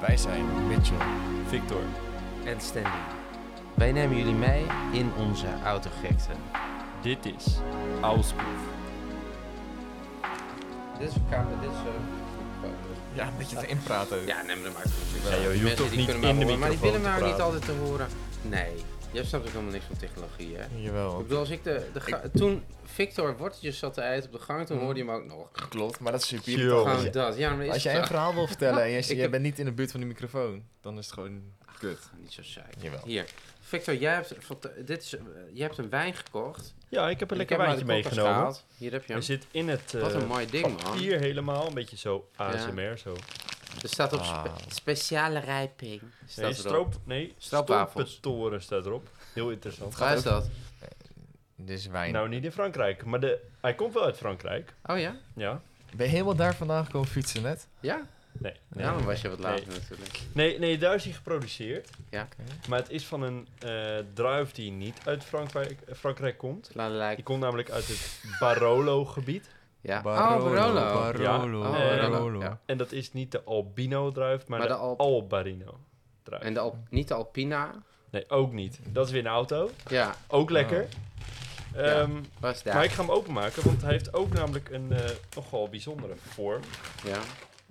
Wij zijn Mitchell. Victor. en Stanley. Wij nemen jullie mee in onze autogekte. Dit is Ausproef. Dit is een camera, dit is eh, een... Ja, een beetje te inpraten. Ja, neem hem maar natuurlijk wel. Ja, joh, je Die hoeft mensen ook die niet kunnen mij in de horen, Maar die willen mij microfoon ook te niet altijd te horen. Nee, jij snapt ook helemaal niks van technologie, hè? Ik Jawel. bedoel, als ik de... de ga- Toen Victor worteltjes zat te eten op de gang, Mm. toen hoorde je hem ook nog. Klopt, maar dat is super. Yo. irritant. Als Gewoon je- dat. Ja, maar is Als jij het een zo- verhaal wil vertellen en je, Ik jij heb- bent niet in de buurt van de microfoon, dan is het gewoon kut. Ah, Niet zo saai. Jawel. Hier, Victor, jij hebt, fant- dit is, eh, jij hebt een wijn gekocht. Ja, ik heb een Ik lekker heb hem uit wijntje de koelkast meegenomen. gehaald. Hier heb je Hij hem. zit in het Wat een eh, mooi ding, man. papier helemaal. Een beetje zo ASMR zo. Er staat op Ah. spe- speciale rijping. Staat Nee, erop. stroop, nee, Stroopwafels. stolpentoren staat erop. Heel interessant. Waar is dat? Dit is wijn. Nou, niet in Frankrijk. Maar de, hij komt wel uit Frankrijk. Oh ja? Ja. Ben je helemaal daar vandaan gekomen fietsen net? Ja? Nee. Nee, Ja, Oh, dan was je wat Nee. later natuurlijk. nee, nee daar is hij geproduceerd. Ja. Oké. Maar het is van een eh, druif die niet uit Frankrijk, Frankrijk komt. Laat Die lijken. komt namelijk uit het Barolo-gebied. Ja. Barolo. oh, Barolo. Barolo. Ja. Oh, Barolo. ja. En dat is niet de Albino druif, maar, Maar de, de Al- Albarino druif. En de Al- niet de Alpina. Nee, ook niet. Dat is weer een auto. Ja, Ook lekker. Ehm, was Maar daar. ik ga hem openmaken, want hij heeft ook namelijk een eh, nogal bijzondere vorm. Ja.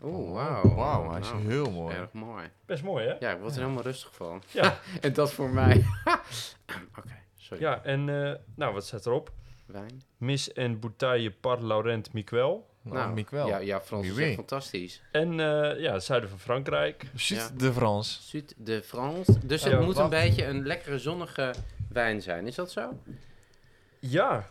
Oeh, wauw. Oh, Wauw, hij is Wauw. heel mooi. Erg mooi. Best mooi, hè? Ja, ik word er helemaal rustig van. Ja. en dat voor mij. Oké, sorry. Ja, en eh, nou, wat staat erop? Wijn. Miss en Boutaille par Laurent Miquel. Nou, Mick wel. Ja, ja Frans Oui, is echt oui. fantastisch. En eh, ja, het zuiden van Frankrijk. Chut Ja. de France. Sud de France. Dus het Ja, moet een wacht. beetje een lekkere zonnige wijn zijn. Is dat zo? Ja.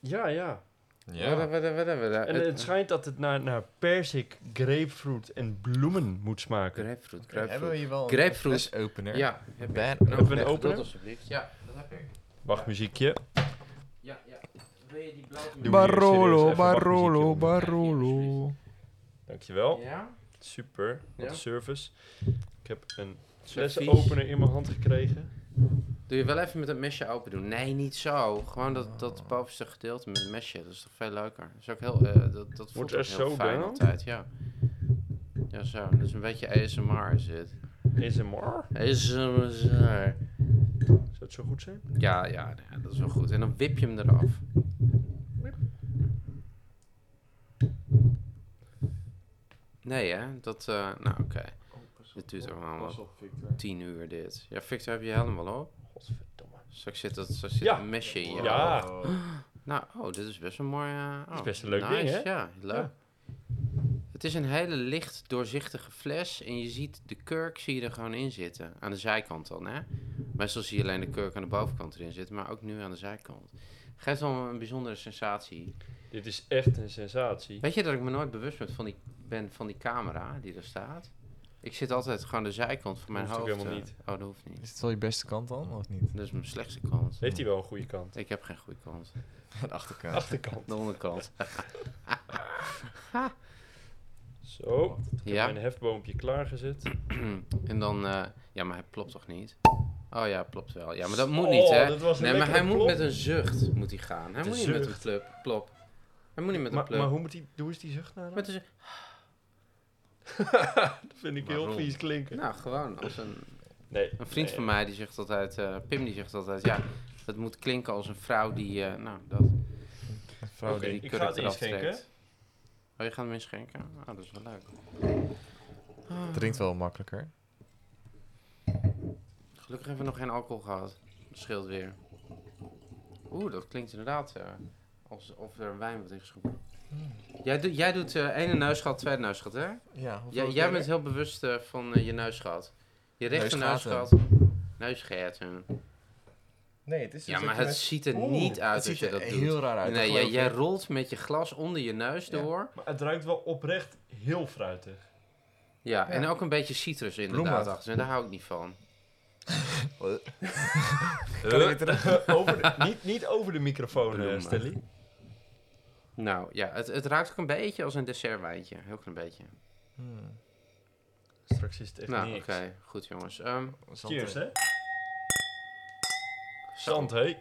Ja, ja. Wada, wada, wada, wada. Eh, En het schijnt dat het naar, naar persik, grapefruit en bloemen moet smaken. Grapefruit, Hebben we grapefruit. hier wel een Grapefruit. fles opener? Ja, heb ik. Ben, Hebben we een Leg opener? Dat alsjeblieft. Ja, dat heb ik. Wacht, muziekje. Ja, ja. Wil je die Doe blauwe... Bar- serieus Barolo, even Barolo, wachtmuziekje Barolo. Dankjewel. Ja? Super, wat Ja. service. Ik heb een Met vies. flessenopener in mijn hand gekregen. Doe je wel even met het mesje open doen. Nee, niet zo. Gewoon dat, Oh. dat bovenste gedeelte met het mesje. Dat is toch veel leuker. Dat is ook heel... eh, dat, dat voelt Wordt ook er heel zo fijn gedaan? altijd, ja. Ja, zo. Dat is een beetje ASMR is het. ASMR? ASMR. Zou het zo goed zijn? Ja, ja, nee, dat is wel goed. En dan wip je hem eraf. Nee, hè? Dat, eh, nou, oké. Oh, Dit duurt allemaal op, Victor. tien uur, dit. Ja, Victor, heb je helemaal op? Godverdomme. Straks zit, dat, straks zit Ja. een mesje in je Ja. hand. Nou, oh, dit is best een mooi... eh, oh, is best een leuk nice, ding, hè? ja. Leuk. Ja. Het is een hele licht doorzichtige fles en je ziet de kurk zie je er gewoon in zitten. Aan de zijkant dan, hè? Meestal zie je alleen de kurk aan de bovenkant erin zitten, maar ook nu aan de zijkant. Geeft wel een bijzondere sensatie. Dit is echt een sensatie. Weet je dat ik me nooit bewust ben van die, ben van die camera die er staat? Ik zit altijd gewoon aan de zijkant van mijn hoeft ook hoofd. helemaal eh, niet. Oh, dat hoeft niet. Is het wel je beste kant dan, of niet? Dat is mijn slechtste kant. Heeft hij wel een goede kant? Ik heb geen goede kant. De achterkant. Achterkant. De onderkant. Zo, ik heb Ja. mijn hefboompje klaargezet. en dan... eh, ja, maar hij plopt toch niet? Oh ja, plopt wel. Ja, maar dat moet niet, Oh, hè? dat was een Nee, maar hij lekkere moet plop. met een zucht moet hij gaan. Hij De moet niet met een zucht. club, plop. Hij moet niet met een Maar, club. maar hoe, moet die, hoe is die zucht nou? dan? Met een zucht. Dat vind ik heel Waarom? vies klinken. Nou, gewoon als een... Nee. Een vriend nee. van mij die zegt altijd... eh, Pim die zegt altijd, ja, het moet klinken als een vrouw die... eh, nou, dat... Vrouw Oké. die- ik ga het kurk eraf inschenken. trekt. Oh, je gaat hem inschenken? Ah, dat is wel leuk. Drinkt wel makkelijker. Gelukkig hebben we nog geen alcohol gehad. Dat scheelt weer. Oeh, dat klinkt inderdaad eh, alsof er wijn wordt ingeschonken. Hmm. Jij, doet- jij doet eh ene neusgat, tweede neusgat, hè? Ja, Jij, jij bent heel bewust eh, van eh, je neusgat. Je rechter Neusgaten. neusgat. Neusgaten. Nee, het is dus Ja, maar het ziet er Oeh, niet uit het dat ziet je er dat doet. heel raar uit. nee, dat jij, geloof jij ik. rolt met je glas onder je neus Ja. door. Maar het ruikt wel oprecht heel fruitig. Ja, Ja. en ook een beetje citrus inderdaad Bloemen. achter. En daar hou ik niet van. Kan ik het terug? Eh, over de- niet, niet over de microfoon, eh, Bloemen. Stanley. Nou ja, het, het ruikt ook een beetje als een dessertwijntje. Heel klein beetje. Hmm. Straks is het echt nou, niks. oké. Goed, jongens. Ehm, Cheers, hè? Zo. Zand, hé.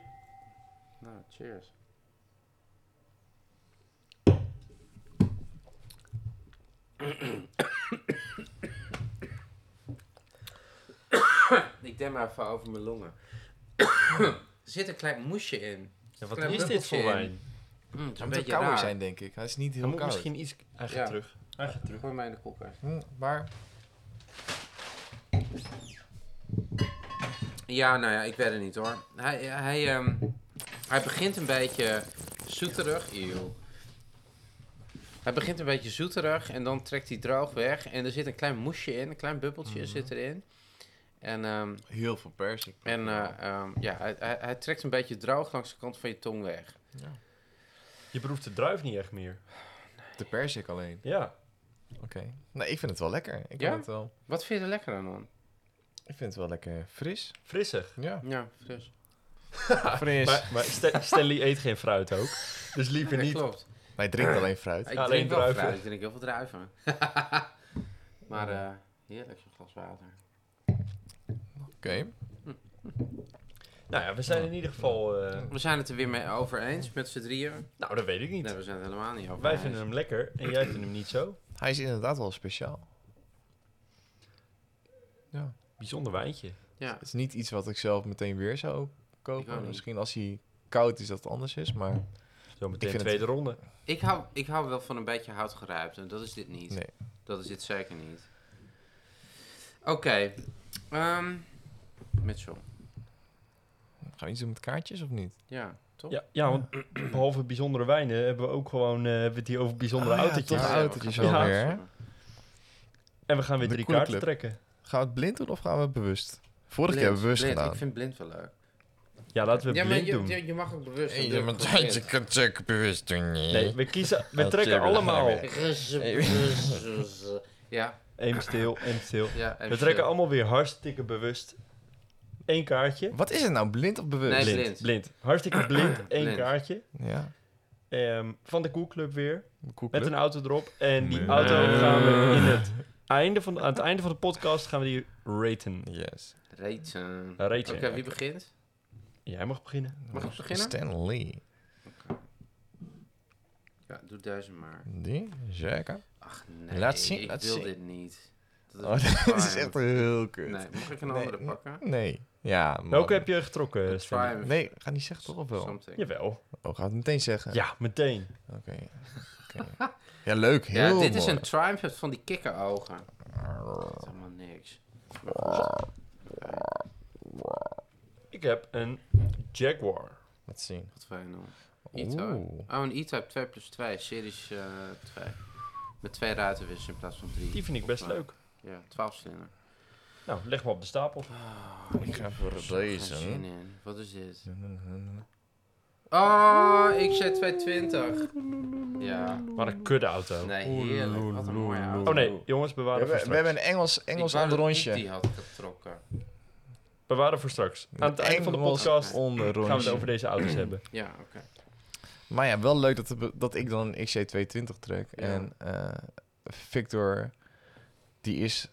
nou, cheers. stem even over mijn longen. er zit een klein moesje in. Ja, wat Klein is dit bubbeltje voor in. wijn? Hm, Mm, het is Hij een moet ook beetje kouder raar. zijn, denk ik. Hij is niet Hij heel moet koud. misschien iets... Hij gaat Ja. terug. Hij gaat terug. Gooi mij in de koelkast. Hm, maar Ja, nou ja, ik weet het niet hoor. Hij, hij, ehm, hij begint een beetje zoeterig. Eeuw. Hij begint een beetje zoeterig en dan trekt hij droog weg. En er zit een klein moesje in, een klein bubbeltje Mhm. zit erin. En, ehm, heel veel persik. en eh, ehm, ja, hij, hij, hij trekt een beetje droog langs de kant van je tong weg. Je proeft de druif niet echt meer. De persik alleen. Ja. Oké. Nee, ik vind het wel lekker. Ik, Ja? vind het wel, Wat vind je er lekker aan dan? ik vind het wel lekker fris. Frissig. Ja, Ja, fris. fris. Maar, maar Ste- Stanley eet geen fruit ook. Dus liever Ja, niet. klopt. Hij drinkt alleen fruit. Ik alleen drink wel druiven. fruit, ik drink heel veel druiven. maar eh, heerlijk, zo'n glas water. Oké. Nou ja, we zijn in ieder geval... eh, We zijn het er weer mee over eens, met z'n drieën. nou, dat weet ik niet. Nee, we zijn het helemaal niet over Wij eens. vinden hem lekker en jij vindt hem niet zo. Hij is inderdaad wel speciaal. Ja. Bijzonder wijntje. Ja, Het is niet iets wat ik zelf meteen weer zou Ik ook kopen. niet. Misschien als hij koud is dat het anders is, maar Ik Zometeen vind tweede ronde. ik hou, ik hou wel van een beetje hout geruimd en dat is dit niet. nee. Dat is dit zeker niet. Oké, ehm, Mitchell. Gaan we iets doen met kaartjes of niet? Ja, Oh. toch? Ja, ja, want behalve bijzondere wijnen hebben we ook gewoon... eh, hebben we het hier over bijzondere Oh ja, autootjes. toch. we autootjes gaan- alweer, hè? En we gaan weer De drie coole kaarten club. trekken. Gaan we het blind doen of gaan we het bewust? Vorige Blind, keer hebben we bewust blind. Ik gedaan. vind blind wel leuk. Ja, laten we ja, maar blind je, doen. je, je mag ook bewust. Hey, een je druk bent- voor je blind. kunt zeker bewust doen, nee. Nee, we kiezen... We Dat trekken hebben we allemaal... daarmee. Ja, Eén stil, één stil. ja. en We trekken stil. allemaal weer hartstikke bewust één kaartje. Wat is het nou, blind of bewust? Nee, blind. blind. blind. Hartstikke blind, één Blind. kaartje. Ja, Ehm, van de Koelclub weer. de koekclub. Met een auto erop. En die Nee. auto gaan we in het einde van, aan het einde van de podcast gaan we die raten. Yes. Reten. Oké, Raten. wie begint? Jij mag beginnen. Mag ik beginnen? Nou, Stan Lee. Ja, doe duizend maar. Die, zeker. Ach nee, Laat zien, ik laat wil zien. dit niet. Dat Oh, dit is fijn. echt heel kut. Nee, mag ik een Nee, andere nee. pakken? Nee. Ja, man. Welke heb je getrokken, Een Stanley? Triumph Nee, ga niet zeggen toch of wel? something. Eh, Jawel. Oh, ga het meteen zeggen. Ja, meteen. Oké. Oké. ja, leuk. Heel Ja, dit is mooi. een Triumph met van die kikkerogen. Dat is helemaal niks. Maar goed. Oké, Ik heb een Jaguar. Laat zien. Wat wij doen. E-type. Oeh. Oh, een E-type 2 plus 2, series eh 2. Met twee ruitenwissers in plaats van drie. Die vind ik best leuk. Ja, 12 slinder. Nou, leg maar op de stapel. Ah, Ik ga voor Zin deze. in. Wat is dit? Oh, ik zei 220. Ja. Wat een kudde auto. Nee, heerlijk. Wat een mooie auto. Oh nee, jongens, We bewaren voor hebben, we straks. hebben een Engels, Engels Ik wou dat ik onderrondje. die had getrokken. Bewaren voor straks. Aan het einde van de Engels podcast gaan we het onderrondje. over deze auto's hebben. Ja, oké. Maar ja, wel leuk dat, de be- dat ik dan een XC220 trek. Ja. En eh, Victor, die is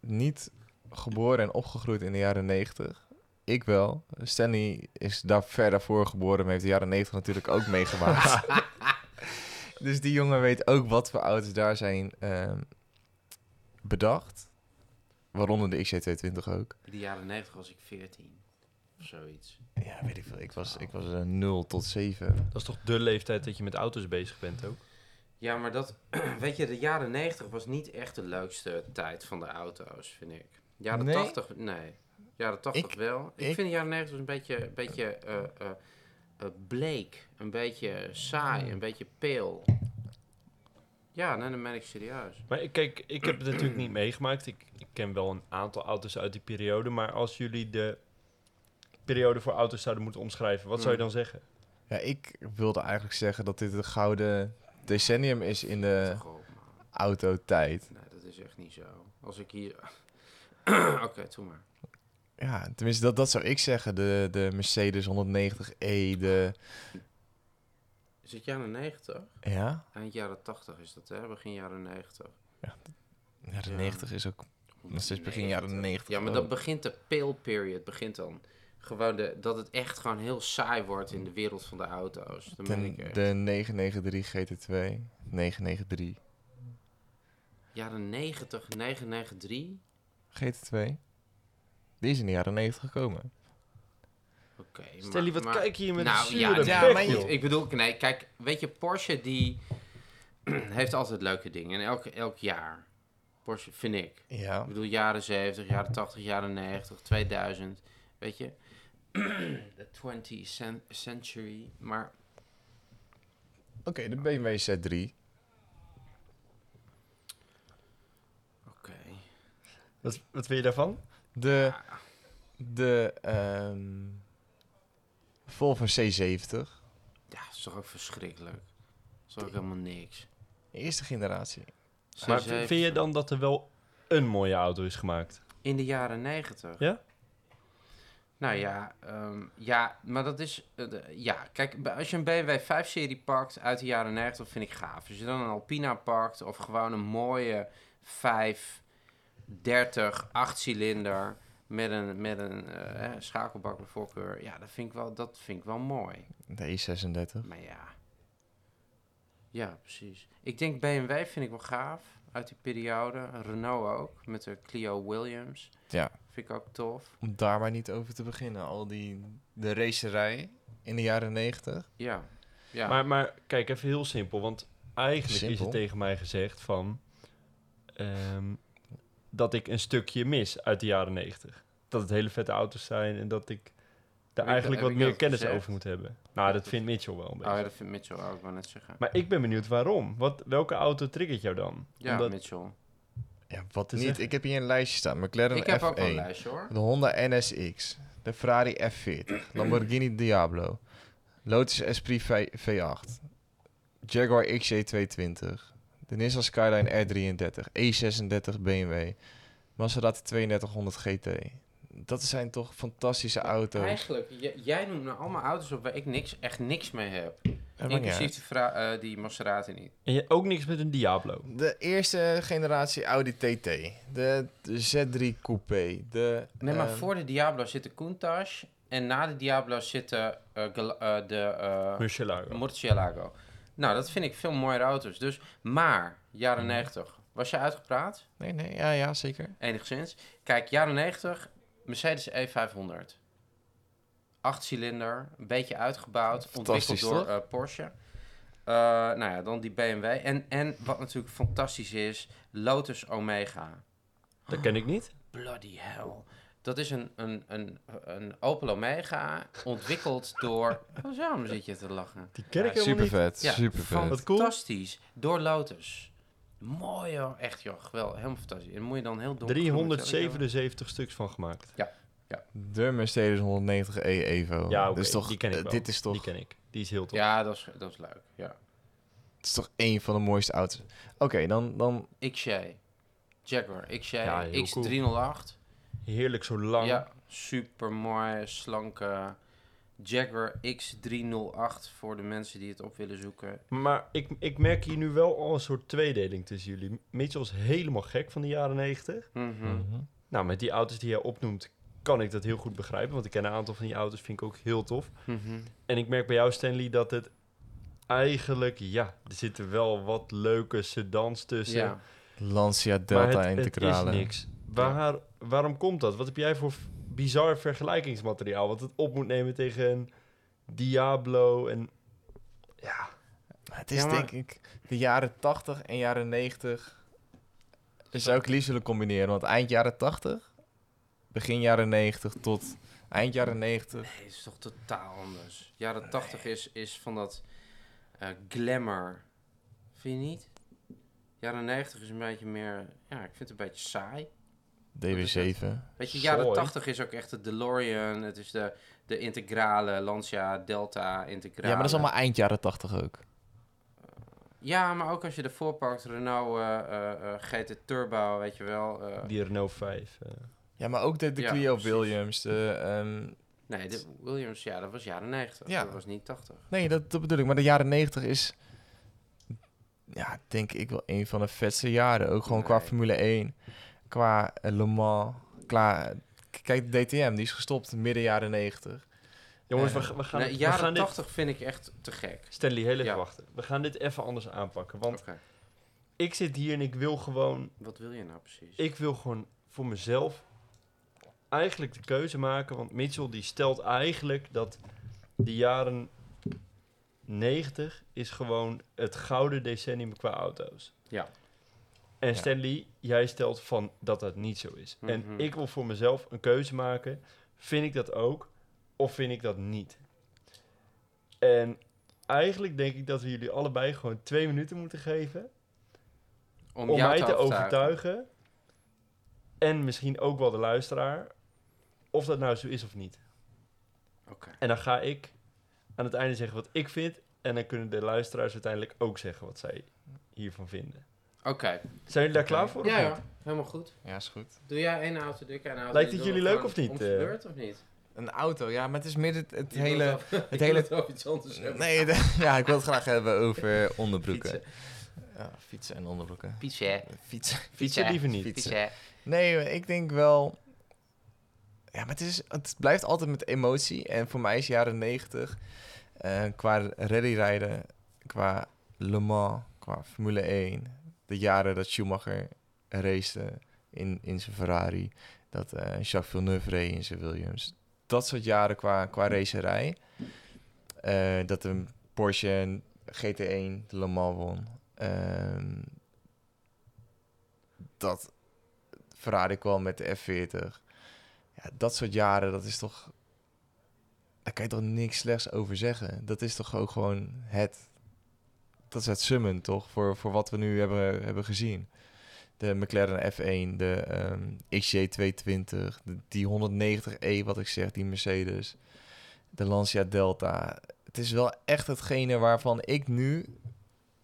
niet geboren en opgegroeid in de jaren 90. Ik wel. Stanley is daar ver daarvoor geboren, maar heeft de jaren 90 natuurlijk ook meegemaakt. dus die jongen weet ook wat voor auto's daar zijn ehm, bedacht. Waaronder de XC220 ook. De jaren 90 was ik 14. Of zoiets. Ja, weet ik veel. Ik was, ik was eh, 0 tot 7. Dat is toch de leeftijd dat je met auto's bezig bent ook? Ja, maar dat... Weet je, de jaren 90 was niet echt de leukste tijd van de auto's, vind ik. Jaren Nee? 80... Nee. Jaren 80 Ik- wel. Ik, ik- vind de jaren 90 was een beetje, een beetje eh, eh, eh, bleek. Een beetje saai. Een beetje peel. Ja, nee, dan ben ik serieus. Maar ik- kijk, ik heb het natuurlijk niet meegemaakt. Ik, ik ken wel een aantal auto's uit die periode. Maar als jullie de periode voor auto's zouden moeten omschrijven, wat zou Hmm. je dan zeggen? Ja, ik wilde eigenlijk zeggen dat dit het gouden decennium is in de Goh, man. autotijd. Nee, dat is echt niet zo. Als ik hier... Oké, doe maar. Ja, tenminste, dat, dat zou ik zeggen. De, de Mercedes 190e, de... Is het jaren 90? Ja? Eind jaren 80 is dat, hè? Begin jaren 90. Jaren Ja. 90 is ook nog steeds begin jaren 90. Ja, maar dan ook. begint de pale period, begint dan. Gewoon de, dat het echt gewoon heel saai wordt in de wereld van de auto's. Dan ben ik eh. de, echt. de 993 GT2, 993 Jaren 90, 993? GT2. Die is in de jaren 90 gekomen. Oké, Stanley, wat kijk je hier met nou, een ja, zure ja, bek, maar je- joh? Ik bedoel, nee, kijk, weet je, Porsche die heeft altijd leuke dingen. En elk, elk jaar. Porsche, vind ik. Ja. Ik bedoel, jaren 70, jaren 80, jaren 90, 2000. Weet je? De 20th cen- century. Maar Oké, de BMW Z3. oké. Wat, wat vind je daarvan? De, de ehm, Volvo C70. Ja, dat is toch ook verschrikkelijk. Dat is toch ook helemaal niks. Eerste generatie. Maar Ze heeft- vind je dan dat er wel een mooie auto is gemaakt? In de jaren 90. Ja? Nou ja, ehm, ja, maar dat is... eh, de- ja, kijk, bij- als je een BMW 5-serie pakt uit de jaren 90, vind ik gaaf. Als je dan een Alpina pakt of gewoon een mooie 5, 30, 8-cilinder... Met een, met een eh, eh, schakelbak bij voorkeur. Ja, dat vind, ik wel, dat vind ik wel mooi. De E E36. Maar ja. Ja, precies. Ik denk BMW vind ik wel gaaf. Uit die periode. Renault ook. Met de Clio Williams. Ja. Vind ik ook tof. Om daar maar niet over te beginnen. Al die de racerij in de jaren 90. Ja. ja. Maar, maar kijk, even heel simpel. Want eigenlijk is Simpel? er tegen mij gezegd van... ehm, dat ik een stukje mis uit de jaren 90. Dat het hele vette auto's zijn en dat ik daar ik- heb eigenlijk wat ik meer dat kennis gezegd? over moet hebben. Nou, dat vindt Mitchell wel een beetje. oh ja, dat vindt Mitchell ook, wel net zeggen. Maar ik ben benieuwd waarom. Wat, welke auto triggert jou dan? ja, Omdat- Mitchell. Ja, wat te niet. zeggen. Ik heb hier een lijstje staan. McLaren Ik heb F1. ook wel een lijstje hoor. De Honda NSX. De Ferrari F40. Lamborghini Diablo. Lotus Esprit V- V8. Jaguar XJ220. De Nissan Skyline E R33. E36 BMW. Maserati 3200 GT. Dat zijn toch fantastische auto's. Eigenlijk, j- jij noemt nou allemaal auto's op waar ik niks, echt niks mee heb. Dat maakt niet Inclusief die, Fra- eh, die Maserati niet. En je ook niks met een Diablo. uit. De eerste generatie Audi TT. De, de Z3 Coupé. De, Nee, maar ehm, voor de Diablo zit de Countach. En na de Diablo zitten eh, Gal- eh, de eh, Murcielago. Murcielago. Nou, dat vind ik veel mooiere auto's. Dus, maar, jaren Mhm. 90. Was je uitgepraat? Nee, nee, ja, ja, zeker. Enigszins. Kijk, jaren 90, Mercedes E500. Acht cilinder, een beetje uitgebouwd, ontwikkeld Fantastisch, door toch? eh, Porsche. Eh, nou ja, dan die BMW. En, en wat natuurlijk fantastisch is, Lotus Omega. Dat ken ik niet. Bloody hell. Dat is een, een, een, een Opel Omega, ontwikkeld door... Oh, waarom zit je te lachen? Die ken ik helemaal super niet. vet, Ja, super vet. Wat cool. Fantastisch, door Lotus. Mooi hoor, echt joh, geweldig, helemaal fantastisch. En moet je dan heel donker... 377 stuks van gemaakt. De Mercedes 190 E Oh, Evo. Ja, Dat oké, is toch, die ken ik eh, wel. Dit is Die toch, ken ik. Die is heel tof. Ja, dat is, dat is leuk, ja. het is toch één van de mooiste auto's. Oké, dan, dan XJ. Jaguar, XJ, Ja, heel X308. Heerlijk zo lang. Ja, super mooi, slanke Jaguar X308 voor de mensen die het op willen zoeken. Maar ik, ik merk hier nu wel al een soort tweedeling tussen jullie. Mitchell is helemaal gek van de jaren 90. Mhm. Nou, met die auto's die jij opnoemt, kan ik dat heel goed begrijpen. Want ik ken een aantal van die auto's, vind ik ook heel tof. Mhm. En ik merk bij jou, Stanley, dat het eigenlijk... Ja, er zitten wel wat leuke sedans tussen. Ja. Lancia maar Delta het, het is integrale. niks. Waar, Waarom komt dat? Wat heb jij voor f- bizar vergelijkingsmateriaal... wat het op moet nemen tegen een Diablo en... Ja, Maar het is Ja, maar- denk ik de jaren 80 en jaren 90. Zou ik liefst willen combineren, want eind jaren 80, begin jaren 90 tot eind jaren 90. Nee, het is toch totaal anders. Jaren 80 is, is van dat eh, glamour. Vind je niet? Jaren 90 is een beetje meer, ja, ik vind het een beetje saai. DB7. Weet je, Zo, jaren hè? 80 is ook echt de DeLorean. Het is de, de integrale, Lancia, Delta, integrale. Ja, maar dat is allemaal eind jaren 80 ook. Ja, maar ook als je ervoor pakt, Renault eh, eh, eh, GT Turbo, weet je wel. eh, die Renault 5. eh. Ja, maar ook de, de Ja, Clio precies. Williams. De, ehm, nee, de Williams, ja, dat was jaren 90. Ja. Dat was niet 80. Nee, dat, dat bedoel ik. Maar de jaren 90 is, ja, denk ik wel een van de vetste jaren. Ook gewoon qua Nee. Formule 1, qua eh, Le Mans. Qua, k- kijk, de DTM, die is gestopt midden jaren 90. Jongens, Eh, we, we gaan, nee, we jaren gaan dit... 80 vind ik echt te gek. Stanley, heel even Ja. wachten. We gaan dit even anders aanpakken. Oké, Want ik zit hier en ik wil gewoon... wat wil je nou precies? Ik wil gewoon voor mezelf eigenlijk de keuze maken, want Mitchell die stelt eigenlijk dat de jaren 90 is gewoon het gouden decennium qua auto's. Ja. En Ja. Stanley, jij stelt van dat dat niet zo is. Mhm. En ik wil voor mezelf een keuze maken. Vind ik dat ook of vind ik dat niet? En eigenlijk denk ik dat we jullie allebei gewoon twee minuten moeten geven om, jou mij te overtuigen. En misschien ook wel de luisteraar. Of dat nou zo is of niet. Oké. En dan ga ik aan het einde zeggen wat ik vind. En dan kunnen de luisteraars uiteindelijk ook zeggen wat zij hiervan vinden. Oké. Zijn jullie daar Oké. klaar voor? of Ja, niet? ja, helemaal goed. Ja, is goed. Doe jij één auto, doe ik een auto. Lijkt Die het doen jullie we gewoon leuk of niet, om z'n eh? beurt of niet? Een auto, ja, maar het is meer het, het Je wil hele... het over- je wil hele- het over iets anders hebben. Nee, de- ja, ik wil het graag hebben over onderbroeken. Fietsen. Ja, fietsen en onderbroeken. Fietsen. Fietsen. Fietsen liever niet. Fietsen. Nee, maar ik denk wel. Ja, maar het, is, het blijft altijd met emotie. En voor mij is jaren 90 eh, qua rallyrijden, qua Le Mans, qua Formule 1. De jaren dat Schumacher race in, in zijn Ferrari. Dat eh, Jacques Villeneuve reed in zijn Williams. Dat soort jaren qua, qua racerij. Eh, dat een Porsche een GT1 de Le Mans won. Ehm, dat Ferrari kwam met de F40. Ja, dat soort jaren, dat is toch... Daar kan je toch niks slechts over zeggen? Dat is toch ook gewoon het... Dat is het summen, toch? Voor, voor wat we nu hebben, hebben gezien. De McLaren F1, de ehm, XJ220, de, die 190e wat ik zeg, die Mercedes. De Lancia Delta. Het is wel echt hetgene waarvan ik nu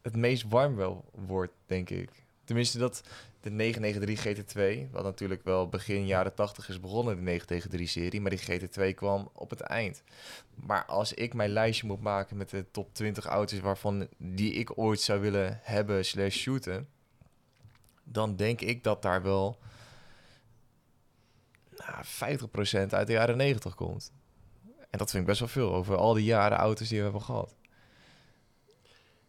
het meest warm wel word, denk ik. Tenminste, dat, de 993 GT2, wat natuurlijk wel begin jaren 80 is begonnen, de 993 serie, maar die GT2 kwam op het eind. Maar als ik mijn lijstje moet maken met de top 20 auto's waarvan die ik ooit zou willen hebben slash shooten, dan denk ik dat daar wel nou, 50% uit de jaren 90 komt. En dat vind ik best wel veel over al die jaren auto's die we hebben gehad.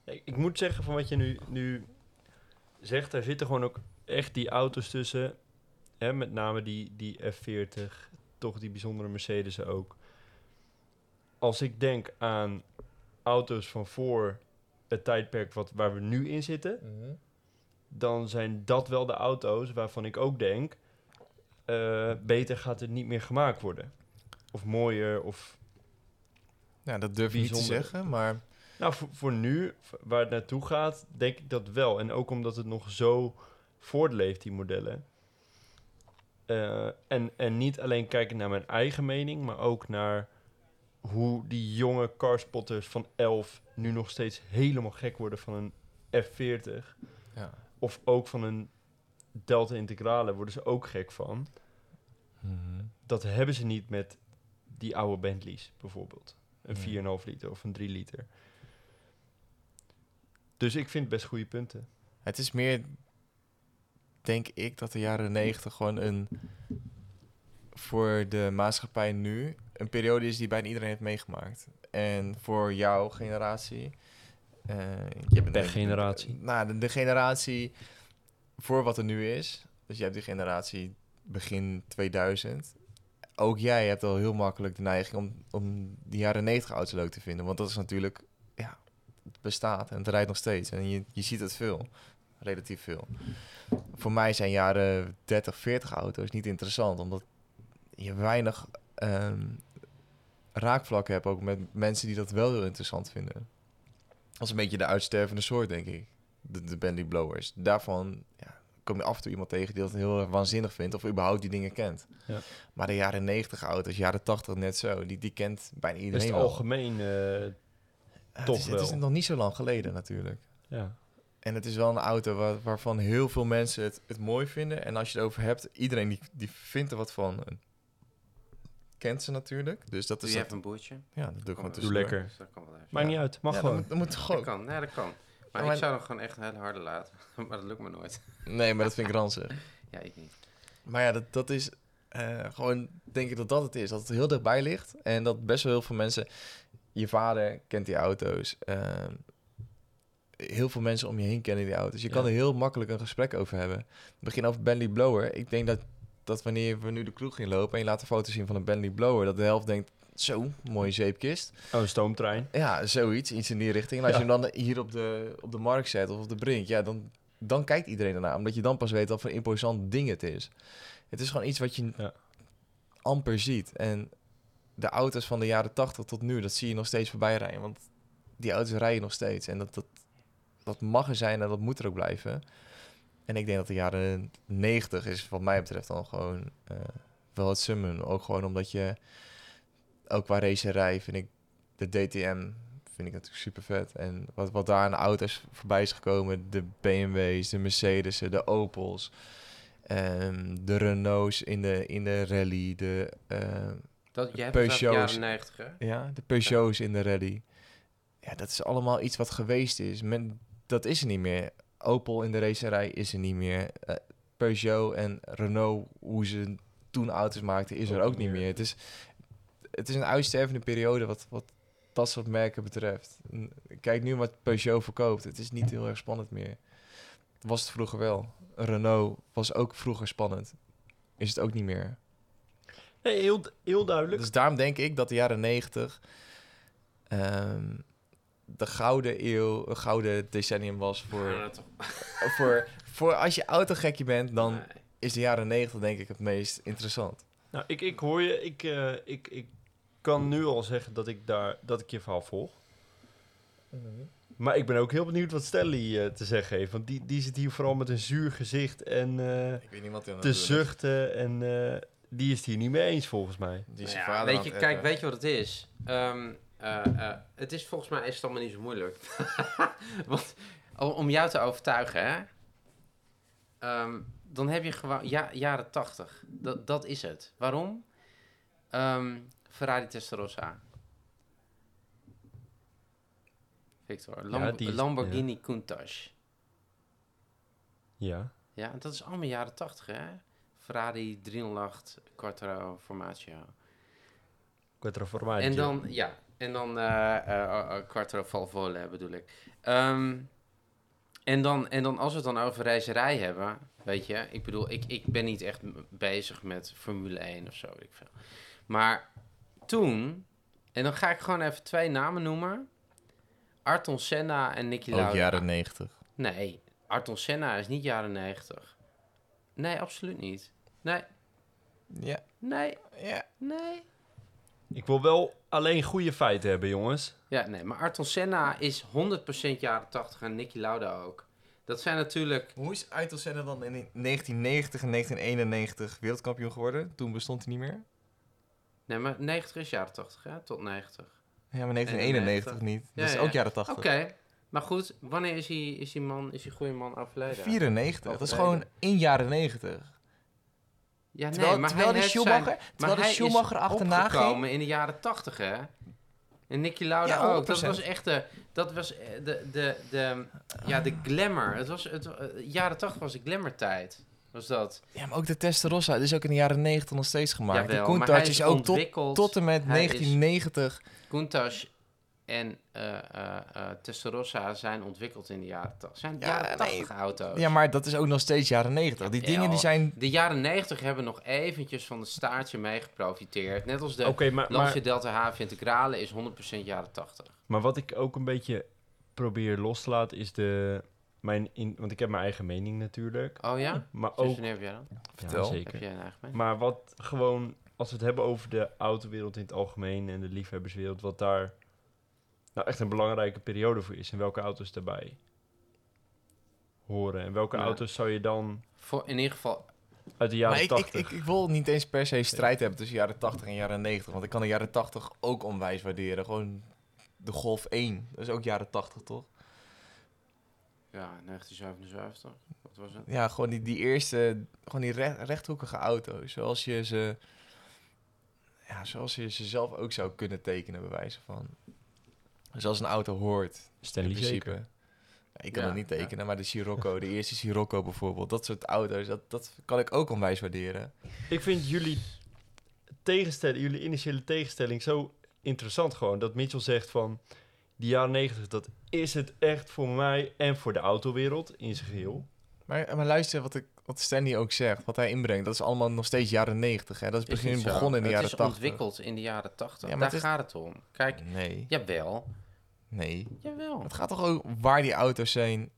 Ik, ik moet zeggen van wat je nu, nu zegt, daar zitten gewoon ook echt die auto's tussen. Hè, met name die, die F40, toch die bijzondere Mercedes ook. Als ik denk aan auto's van voor het tijdperk wat, waar we nu in zitten, dan zijn dat wel de auto's waarvan ik ook denk, eh, beter gaat het niet meer gemaakt worden. Of mooier, of Ja, dat durf je niet te Bijzonder. zeggen, maar Nou, voor, voor nu, v- waar het naartoe gaat, denk ik dat wel. En ook omdat het nog zo voortleeft, die modellen. Eh, en, en niet alleen kijken naar mijn eigen mening, maar ook naar hoe die jonge carspotters van 11 nu nog steeds helemaal gek worden van een F40. ja. Of ook van een Delta Integrale worden ze ook gek van. Mhm. Dat hebben ze niet met die oude Bentleys bijvoorbeeld. Een Nee. 4,5 liter of een 3 liter. Dus ik vind best goede punten. Het is meer, denk ik, dat de jaren negentig gewoon een voor de maatschappij nu een periode is die bijna iedereen heeft meegemaakt. En voor jouw generatie, eh, je bent De denk ik- generatie. nou, de, de generatie voor wat er nu is. Dus je hebt die generatie begin 2000. Ook jij hebt al heel makkelijk de neiging om, om die jaren 90 auto's leuk te vinden. Want dat is natuurlijk, ja, het bestaat en het rijdt nog steeds. En je, je ziet het veel, relatief veel. Voor mij zijn jaren 30, 40 auto's niet interessant. Omdat je weinig ehm, raakvlakken hebt ook met mensen die dat wel heel interessant vinden. Dat is een beetje de uitstervende soort, denk ik de, de Bentley Blowers. Daarvan ja, kom je af en toe iemand tegen die dat heel erg waanzinnig vindt of überhaupt die dingen kent. Ja. Maar de jaren 90 auto's, jaren 80 net zo, die, die kent bijna Dat is iedereen het wel. algemeen. eh, Ja, het, toch is, het is wel. nog niet zo lang geleden natuurlijk. ja. En het is wel een auto waar- waarvan heel veel mensen het, het mooi vinden. En als je het over hebt, iedereen die, die vindt er wat van. En kent ze natuurlijk. Dus dat Doe is je dat, even een boertje? ja, dat doe ik gewoon Doe Doe tussendoor. lekker. Dus dat kan wel even. Maakt Ja. niet uit. Mag Ja, dat gewoon. moet, dat moet Dat gewoon. kan, nee, dat kan. Maar maar- ik zou hem gewoon echt heel harde laten. maar dat lukt me nooit. Nee, maar dat vind ik ranzig. Ja, ik niet. Maar ja, dat, dat is eh, gewoon, denk ik dat dat het is. Dat het heel dichtbij ligt en dat best wel heel veel mensen... Je vader kent die auto's. ehm, heel veel mensen om je heen kennen die auto's. Je kan Ja. er heel makkelijk een gesprek over hebben. Begin over Bentley Blower. Ik denk dat dat wanneer we nu de kroeg inlopen en je laat een foto zien van een Bentley Blower, dat de helft denkt, zo, mooie zeepkist. Oh, een stoomtrein. Ja, zoiets, iets in die richting. En als Ja. je hem dan hier op de, op de markt zet of op de brink, ja, dan, dan kijkt iedereen ernaar. Omdat je dan pas weet wat voor een imposant ding het is. Het is gewoon iets wat je Ja. amper ziet. En de auto's van de jaren 80 tot nu, dat zie je nog steeds voorbij rijden. Want die auto's rijden nog steeds. En dat, dat, dat mag er zijn en dat moet er ook blijven. En ik denk dat de jaren 90 is wat mij betreft dan gewoon eh, wel het summum. Ook gewoon omdat je, ook qua racerij vind ik de DTM vind ik natuurlijk super vet. En wat, wat daar aan auto's voorbij is gekomen, de BMW's, de Mercedes'en, de Opels, ehm, de Renault's in de, in de rally, de, ehm, Dat, jij hebt het over de Peugeot is- jaren 90, hè? ja, de Peugeot's in de rally. Ja, dat is allemaal iets wat geweest is. Men, dat is er niet meer. Opel in de racerij is er niet meer. Eh, Peugeot en Renault, hoe ze toen auto's maakten, is er Ook ook niet meer. meer. Het is, het is een uitstervende periode wat, wat dat soort merken betreft. N- Kijk nu wat Peugeot verkoopt. Het is niet heel erg spannend meer. Was het vroeger wel. Renault was ook vroeger spannend. Is het ook niet meer. Nee, heel, heel duidelijk. Dus daarom denk ik dat de jaren 90 ehm, de gouden eeuw, een gouden decennium was voor, Ja, toch. voor, voor als je autogekje bent, dan Nee. is de jaren 90 denk ik het meest interessant. Nou, ik, ik hoor je. Ik, eh, ik, ik kan nu al zeggen dat ik, daar, dat ik je verhaal volg. Mhm. Maar ik ben ook heel benieuwd wat Stanley eh, te zeggen heeft. Want die, die zit hier vooral met een zuur gezicht en eh, Ik weet niet wat hij te zuchten. En eh, die is het hier niet mee eens volgens mij. Die Nou ja, weet je, kijk, weet je wat het is? Ehm, eh, eh, het is volgens mij is het allemaal niet zo moeilijk. Want o- om jou te overtuigen, hè? Ehm, dan heb je gewoon ja, jaren 80. Dat, dat is het. Waarom? Ehm, Ferrari Testarossa. Victor, Lam- Ja, die is- Lamborghini Countach. Ja. Ja, en dat is allemaal jaren 80, hè? Ferrari 308 Quattro Formaggio. Quattro formaggio. En dan, ja, en dan eh eh eh, eh, Quattro Valvole bedoel ik. Ehm, en, dan, en dan als we het dan over reiserij hebben, weet je, ik bedoel, ik, ik ben niet echt m- bezig met Formule 1 of zo, weet ik veel. Maar toen, en dan ga ik gewoon even twee namen noemen. Arton Senna en Nicky Lauda. Ook jaren 90. Nee, Arton Senna is niet jaren 90. Nee, absoluut niet. Nee, Ja, nee, ja. nee. Ik wil wel alleen goede feiten hebben, jongens. Ja, nee, maar Arton Senna is 100% jaren 80 en Nicky Lauda ook. Dat zijn natuurlijk. Hoe is Ayrton Senna dan in 1990 en 1991 wereldkampioen geworden? Toen bestond hij niet meer. Nee, maar 90 is jaren 80, hè? Tot 90. Ja, maar 1991 91 niet. Ja, dat is ja, ook ja. jaren Oké, 80. maar goed, wanneer is die, is die man, is die goede man overleden? 94. Dat is Overleden. gewoon in jaren 90. Ja, nee, Terwijl, maar terwijl hij de heeft Schumacher, zijn- terwijl de hij is Schumacher achterna ging. opgekomen in de jaren 80, hè? En Nicky Lauda Ja, ook. Dat 100%. was echt de. Dat was eh, de, de, de, ja, de glamour. Het was, het, eh, jaren 80 was de glamour-tijd. Was dat? Ja, maar ook de Testarossa, die is ook in de jaren 90 nog steeds gemaakt. Jawel, de maar hij Countach is, is ook tot, ontwikkeld. tot en met Hij is- 1990. Countach en eh, eh, eh, Testarossa zijn ontwikkeld in de jaren 80. Zijn Ja, jaren nee. 80 auto's. Ja, maar dat is ook nog steeds jaren 90. Die Ja, dingen die joh. zijn... De jaren 90 hebben nog eventjes van het staartje meegeprofiteerd. Net als de Oké, okay, maar, maar, Delta Haven Integrale is 100% jaren 80. maar wat ik ook een beetje probeer los te laten is de... Mijn in, want ik heb mijn eigen mening natuurlijk. Oh ja? Maar Sinds ook... wanneer heb jij dat? Vertel. Heb jij een eigen mening? Maar wat gewoon, als we het hebben over de autowereld in het algemeen en de liefhebberswereld, wat daar nou echt een belangrijke periode voor is en welke auto's daarbij horen. En welke Ja. auto's zou je dan Voor, in ieder geval, uit de Maar jaren ik, ik, 80? ik, ik wil niet eens per se strijd hebben tussen jaren 80 en jaren 90. Want ik kan de jaren 80 ook onwijs waarderen. Gewoon de Golf 1. Dat is ook jaren 80, toch? ja, 1977. Wat was het? Ja, gewoon die, die eerste... Gewoon die re- rechthoekige auto's. Zoals je ze... Ja, zoals je ze zelf ook zou kunnen tekenen, bij wijze van. Zoals een auto hoort. Stanley in principe. Ja, Ik kan Ja, het niet ja. tekenen, maar de Sirocco, de eerste Sirocco bijvoorbeeld, dat soort auto's, dat, dat kan ik ook onwijs waarderen. Ik vind jullie tegenstelling, jullie initiële tegenstelling zo interessant gewoon. Dat Mitchell zegt van, die jaren 90, dat is het echt voor mij en voor de autowereld in zijn geheel. Maar, maar luister wat, ik, wat Stanley ook zegt, wat hij inbrengt. Dat is allemaal nog steeds jaren 90. Hè? Dat is begin, niet zo. begonnen in de jaren Het is 80. ontwikkeld in de jaren 80. Ja, maar Daar het is- gaat het om. Kijk, Nee, jawel, nee. jawel. Het gaat toch ook waar die auto's zijn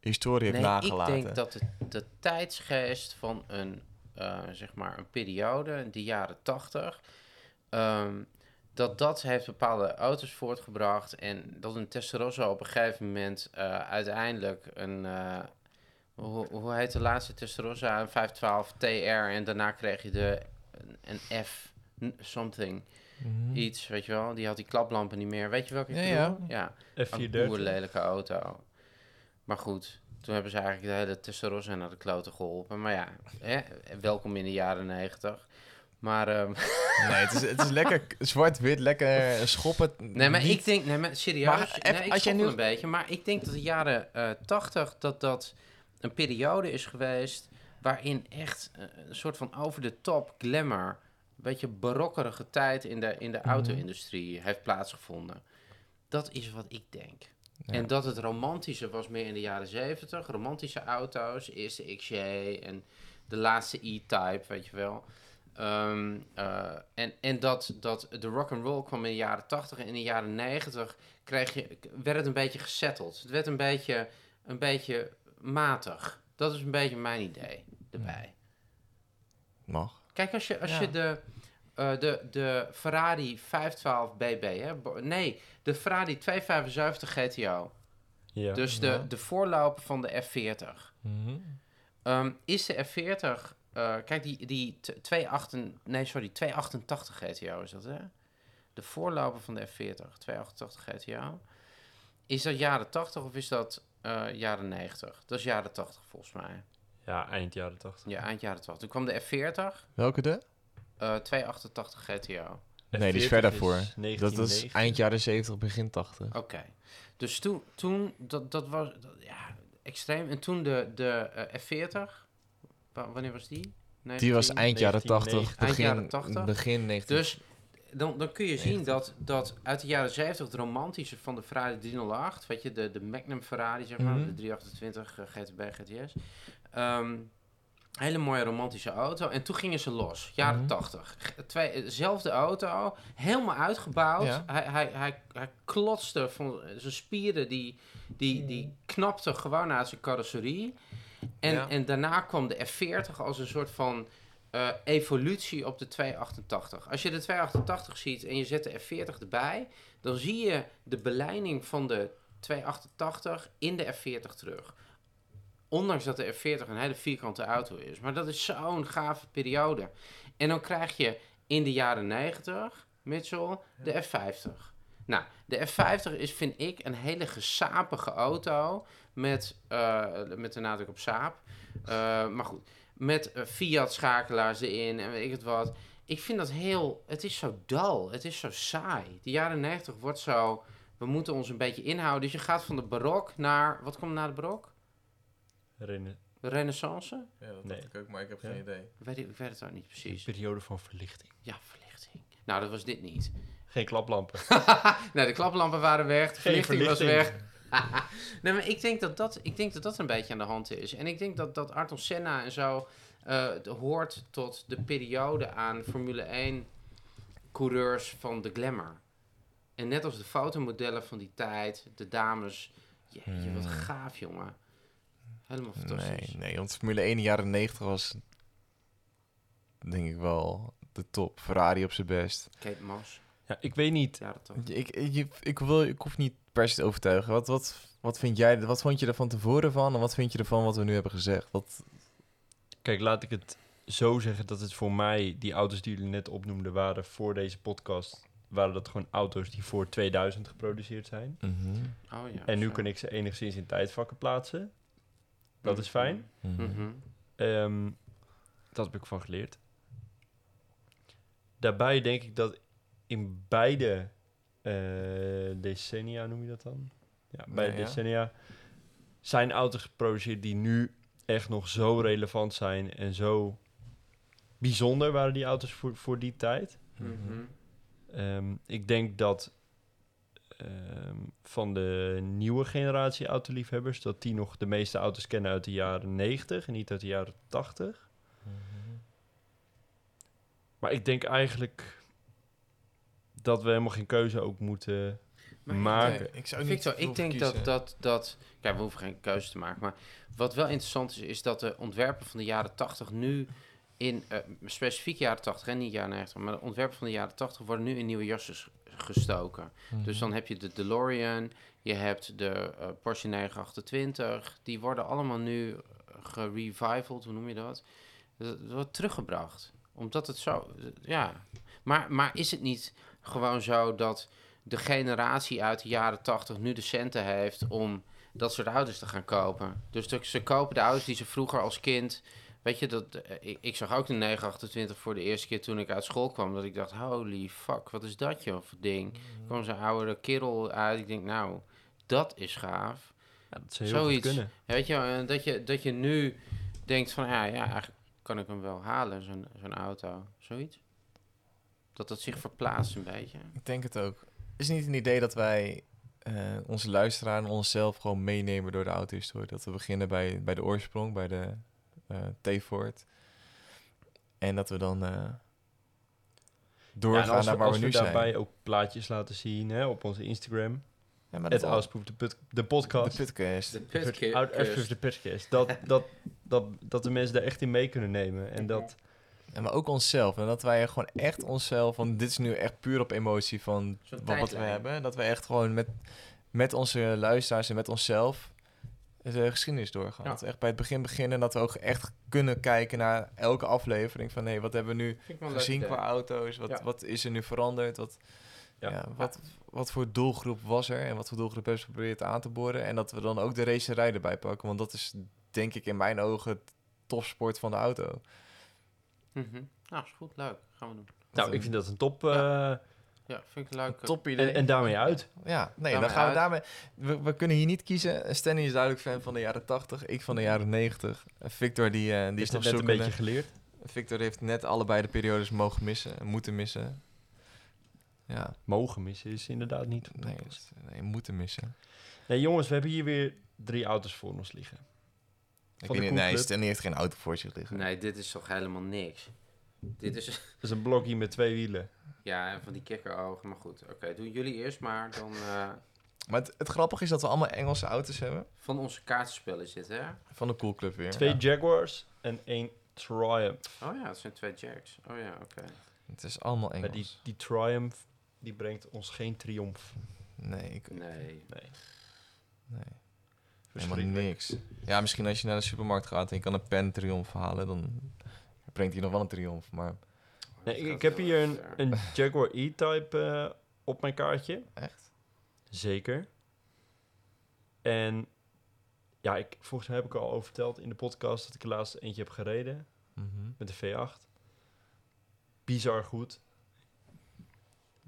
historie heeft ik nagelaten. denk dat de, de tijdsgeest van een, eh, zeg maar een periode, de jaren 80, ehm, dat dat heeft bepaalde auto's voortgebracht. En dat een Testarossa op een gegeven moment eh, uiteindelijk een... eh, hoe, hoe heet de laatste Testarossa? Een 512 TR en daarna kreeg je de, een, een F something, Mhm. iets, weet je wel. Die had die klaplampen niet meer. Weet je welke ik Ja, ja. bedoel? ja. Een F430. lelijke auto. Maar goed, toen hebben ze eigenlijk de hele Testarossa naar de kloten geholpen. Maar ja, hè, welkom in de jaren negentig. Maar, ehm, Nee, het is, het is lekker k- zwart-wit, lekker schoppen. nee, maar niet- ik denk, nee, maar serieus, Maar even- nee, ik als jij schoffel nu- een beetje. Maar ik denk dat de jaren eh, tachtig, dat dat een periode is geweest... waarin echt eh, een soort van over de top glamour... een beetje barokkerige tijd in de, in de auto-industrie heeft plaatsgevonden. Dat is wat ik denk. Ja. En dat het romantische was meer in de jaren zeventig. Romantische auto's, eerste XJ en de laatste E-Type, weet je wel. Ehm, eh, en en dat, dat de rock'n'roll kwam in de jaren tachtig en in de jaren negentig kreeg je, werd het een beetje gesetteld. Het werd een beetje, een beetje matig. Dat is een beetje mijn idee erbij. Mag. Kijk, als je, als Ja. je de, eh, de, de Ferrari 512 BB, hè? bo- nee, de Ferrari 275 GTO. Ja. Dus de, Ja. de voorloper van de F40. Mhm. Ehm, is de F40... eh, kijk, die, die t- 28, nee, sorry, 288 GTO is dat, hè? De voorloper van de F40, 288 GTO. Is dat jaren 80 of is dat eh, jaren 90? Dat is jaren 80 volgens mij. ja, eind jaren 80. Ja, eind jaren 80. Toen kwam de F40, Welke de? eh 288 GTO. Nee, die is F40 verder voor. Dat is 1990. eind jaren 70, begin 80. Oké. Dus toen, toen dat, dat was dat- ja, extreem. En toen de, de eh, F40, wa- wanneer was die? Die was 19? eind jaren 80, 1990. begin, Eind jaren 80. begin 19... Dus dan, dan kun je zien dat, dat uit de jaren 70 het romantische van de Ferrari 308, weet je, de, de Magnum Ferrari, zeg maar, Mhm. de 328 eh, GTB, GTS. ehm, hele mooie romantische auto. En toen gingen ze los, jaren Mhm. 80. G- Twee, eh, zelfde auto, helemaal uitgebouwd. Ja. Hij, hij, hij, hij klotste van eh, zijn spieren, die, die, die knapte gewoon uit zijn carrosserie. En, Ja. en daarna kwam de F40 als een soort van eh, evolutie op de 288. Als je de 288 ziet en je zet de F40 erbij, dan zie je de beleiding van de 288 in de F40 terug. Ondanks dat de F40 een hele vierkante auto is. Maar dat is zo'n gave periode. En dan krijg je in de jaren 90, Mitchell, de F50. Nou, de F50 is, vind ik, een hele gesapige auto. Met, eh, met de nadruk op saap. Eh, maar goed, met eh, Fiat-schakelaars erin en weet ik het wat. Ik vind dat heel... Het is zo dal. Het is zo saai. De jaren 90 wordt zo... We moeten ons een beetje inhouden. Dus je gaat van de barok naar... Wat komt na de barok? Rennen- Renaissance? Ja, dat dacht ik ook, maar ik heb geen idee. Weet ik, ik weet het ook niet precies. Periode van verlichting. Ja, verlichting. Nou, dat was dit niet. Geen klaplampen. nee, de klaplampen waren weg. De Geen verlichting, was weg. verlichting. nee, maar ik denk dat, dat, ik denk dat dat een beetje aan de hand is. En ik denk dat, dat Arton Senna en zo eh, de- hoort tot de periode aan Formule 1 coureurs van de glamour. En net als de fotomodellen van die tijd, de dames. Jeetje, wat Hmm. gaaf, jongen. Helemaal fantastisch. Nee, nee, want Formule 1 in de jaren 90 was, denk ik wel, de top. Ferrari op zijn best. Kate Moss, Ja, ik weet niet. ja, dat toch. Ik, ik, ik, wil, ik hoef niet per se te overtuigen. Wat, wat, wat, vind jij, wat vond je er van tevoren van en wat vind je ervan wat we nu hebben gezegd? Wat, Kijk, laat ik het zo zeggen dat het voor mij, die auto's die jullie net opnoemden, waren voor deze podcast, waren dat gewoon auto's die voor 2000 geproduceerd zijn. Mhm. Oh, ja, En nu zo. kan ik ze enigszins in tijdvakken plaatsen. Dat is fijn. Mhm. Ehm, dat heb ik van geleerd. Daarbij denk ik dat in beide eh, decennia, noem je dat dan? Ja, beide Ja, ja. decennia zijn auto's geproduceerd die nu echt nog zo relevant zijn en zo bijzonder waren Mhm. die auto's voor, voor die tijd. Mhm. Ehm, ik denk dat eh, ehm, van de nieuwe generatie autoliefhebbers... dat die nog de meeste auto's kennen uit de jaren 90 en niet uit de jaren 80. Maar ik denk eigenlijk dat we helemaal geen keuze ook moeten... Maar- ik, Oké. ik zou niet Victor, ik hoeven denk kiezen. dat, dat dat. Kijk, we hoeven geen keuze te maken. Maar wat wel interessant is, is dat de ontwerpen van de jaren 80 nu in. eh, specifiek jaren 80 en niet jaren 90. Maar de ontwerpen van de jaren 80 worden nu in nieuwe jassen s- gestoken. Mhm. Mhm. Dus dan heb je de DeLorean, je hebt de eh, Porsche 928. Die worden allemaal nu eh, gerevivald, hoe noem je dat? Dat dat wordt teruggebracht. Omdat het zo... Ja. Maar, maar is het niet gewoon zo dat de generatie uit de jaren 80 nu de centen heeft om dat soort auto's te gaan kopen? Dus de- ze kopen de auto's die ze vroeger als kind... Weet je, dat, eh, ik, ik zag ook de 928 voor de eerste keer toen ik uit school kwam. Dat ik dacht, holy fuck, wat is dat joh, voor ding? kwam zo'n oude kerel uit. Ik denk, nou, dat is gaaf. Ja, dat ze heel goed Zoiets. kunnen. Ja, Weet je, eh, dat je, dat je nu denkt van, ah, ja, ja eigenlijk kan ik hem wel halen, zo'n zo'n auto. Zoiets. Dat dat zich verplaatst een beetje. Ik denk het ook. Is het niet een idee dat wij eh, onze luisteraar en onszelf gewoon meenemen door de auto-historie? Dat we beginnen bij, bij de oorsprong, bij de eh T-Ford. En dat we dan eh, Ja, doorgaan en als we, naar waar als we we, nu daarbij zijn. ook plaatjes laten zien hè, op onze Instagram... Ja, maar Het dat- Houseproef, de, put- de de podcast. podcast. De putke- Out- Houseproef, kust. de podcast. Dat, dat, dat, dat de mensen daar echt in mee kunnen nemen. En dat... En maar ook onszelf. En dat wij gewoon echt onszelf, want dit is nu echt puur op emotie van Zo'n wat, wat we tijdlijn. hebben. Dat we echt gewoon met, met onze luisteraars en met onszelf de geschiedenis doorgaan. Ja. Dat we echt bij het begin beginnen. en Dat we ook echt kunnen kijken naar elke aflevering. Van hé, wat hebben we nu Vind ik wel een leuk gezien idee. qua auto's? Wat, Ja. wat is er nu veranderd? Wat, ja. Ja. wat, wat voor doelgroep was er? En wat voor doelgroep hebben ze geprobeerd aan te boren? En dat we dan ook de racerij erbij pakken. Want dat is denk ik in mijn ogen het topsport van de auto. Mhm. Nou, is goed, leuk. Gaan we doen. Nou, ik vind dat een top... eh, Ja, vind ik leuk. top idee. en, en daarmee uit. Ja, nee, Daarmee dan gaan we uit. daarmee... We, we kunnen hier niet kiezen. Stanley is duidelijk fan van de jaren 80, ik van de jaren 90. Victor die, eh, die is Die is nog het net een zoekende. beetje geleerd. Victor heeft net allebei de periodes mogen missen, moeten missen. Ja, Mogen missen is inderdaad niet. nee, dus- nee moeten missen. Nee, jongens, we hebben hier weer drie auto's voor ons liggen. Ik de weet niet, nee, koelclub. Stanley heeft geen auto voor zich liggen. Nee, dit is toch helemaal niks. Dit is, Dat is een blokje met twee wielen. ja, en van die kikkerogen, maar goed. Oké, doen jullie eerst maar. Dan eh, Maar het, het grappige is dat we allemaal Engelse auto's hebben. van onze kaartenspel is dit, hè? Van de coolclub weer. Twee Ja. Jaguars en één Triumph. Oh ja, het zijn twee jacks. Oh ja, oké. Het is allemaal Maar Engels. die, die Triumph, die brengt ons geen triomf. Nee, ik, eh, Nee. Nee. nee, helemaal Verschrikkelijk. niks. Ja, misschien als je naar de supermarkt gaat en je kan een pen triomf halen, dan brengt hij nog wel een triomf. Maar Nee, ik, ik heb hier een, een Jaguar E-Type eh, op mijn kaartje. Echt? Zeker. En ja, ik, volgens mij heb ik al over verteld in de podcast dat ik er laatst eentje heb gereden mhm. met de V8. Bizar goed.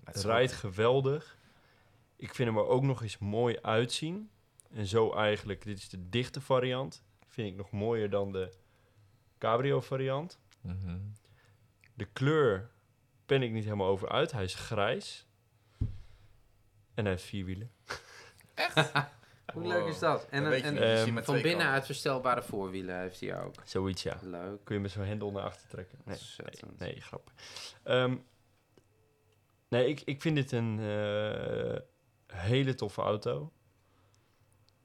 Maar Het rijdt geweldig. Ik vind hem er ook nog eens mooi uitzien. En zo eigenlijk, dit is de dichte variant. Vind ik nog mooier dan de cabrio variant. Mhm. De kleur ben ik niet helemaal over uit. Hij is grijs. En hij heeft vier wielen. Hoe leuk is dat? En, Dat een- weet je en niet, dat zie je ehm, eh, met van twee binnenuit kanten. verstelbare voorwielen heeft hij ook. Zoiets, ja. Leuk. Kun je met zo'n hendel naar achter trekken. Nee, Ontzettend. nee, nee grap. Ehm, nee, ik, ik vind dit een eh, hele toffe auto.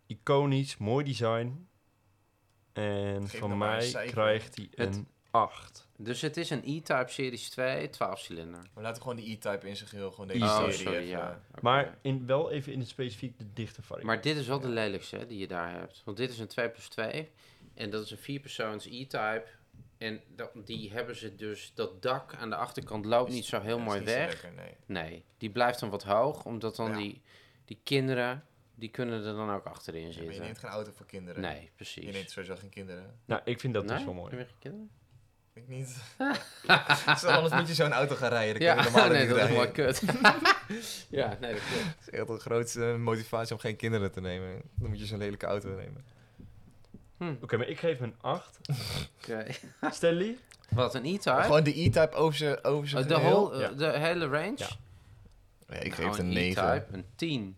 Iconisch, mooi design. En Geef nou van maar een mij cijfer. krijgt hij Het- een 8. Dus het is een E-Type Series 2, 12 cilinder. Maar laten we gewoon die E-type in zijn geheel, gewoon deze Oh, serie. sorry, even. eh, ja. Oké. Maar in, wel even in het specifiek de dichte variant. Maar dit is wel de lelijkste hè, die je daar hebt. Want dit is een 2 plus 2. En dat is een 4 persoons E-Type. En dat, die hebben ze dus... Dat dak aan de achterkant loopt Is- niet zo heel Ja, is mooi niet zo weg. lekker, nee. Nee, die blijft dan wat hoog. Omdat dan Ja. die, die kinderen... Die kunnen er dan ook achterin Ja, maar je zitten. neemt geen auto voor kinderen. Nee, Je neemt precies. sowieso geen kinderen. nou, ik vind eh, dat Nee? dus wel mooi. Heb je geen kinderen? Ik niet. Zo, anders moet je zo'n auto gaan rijden. Dan Ja, kun je normaal nee, niet dat is rijden. mooi kut. ja, nee, dat klopt. Dat is echt de grootste motivatie om geen kinderen te nemen. Dan moet je zo'n lelijke auto nemen. Hm, Oké, maar ik geef hem een 8. oké. Stanley? Wat, een E-Type? Gewoon de E-type over zijn over Oh, zijn de, geheel. whole, eh, Ja. de hele range? Ja. Nee, ik Nou, geef het een 9. E-Type, een 10.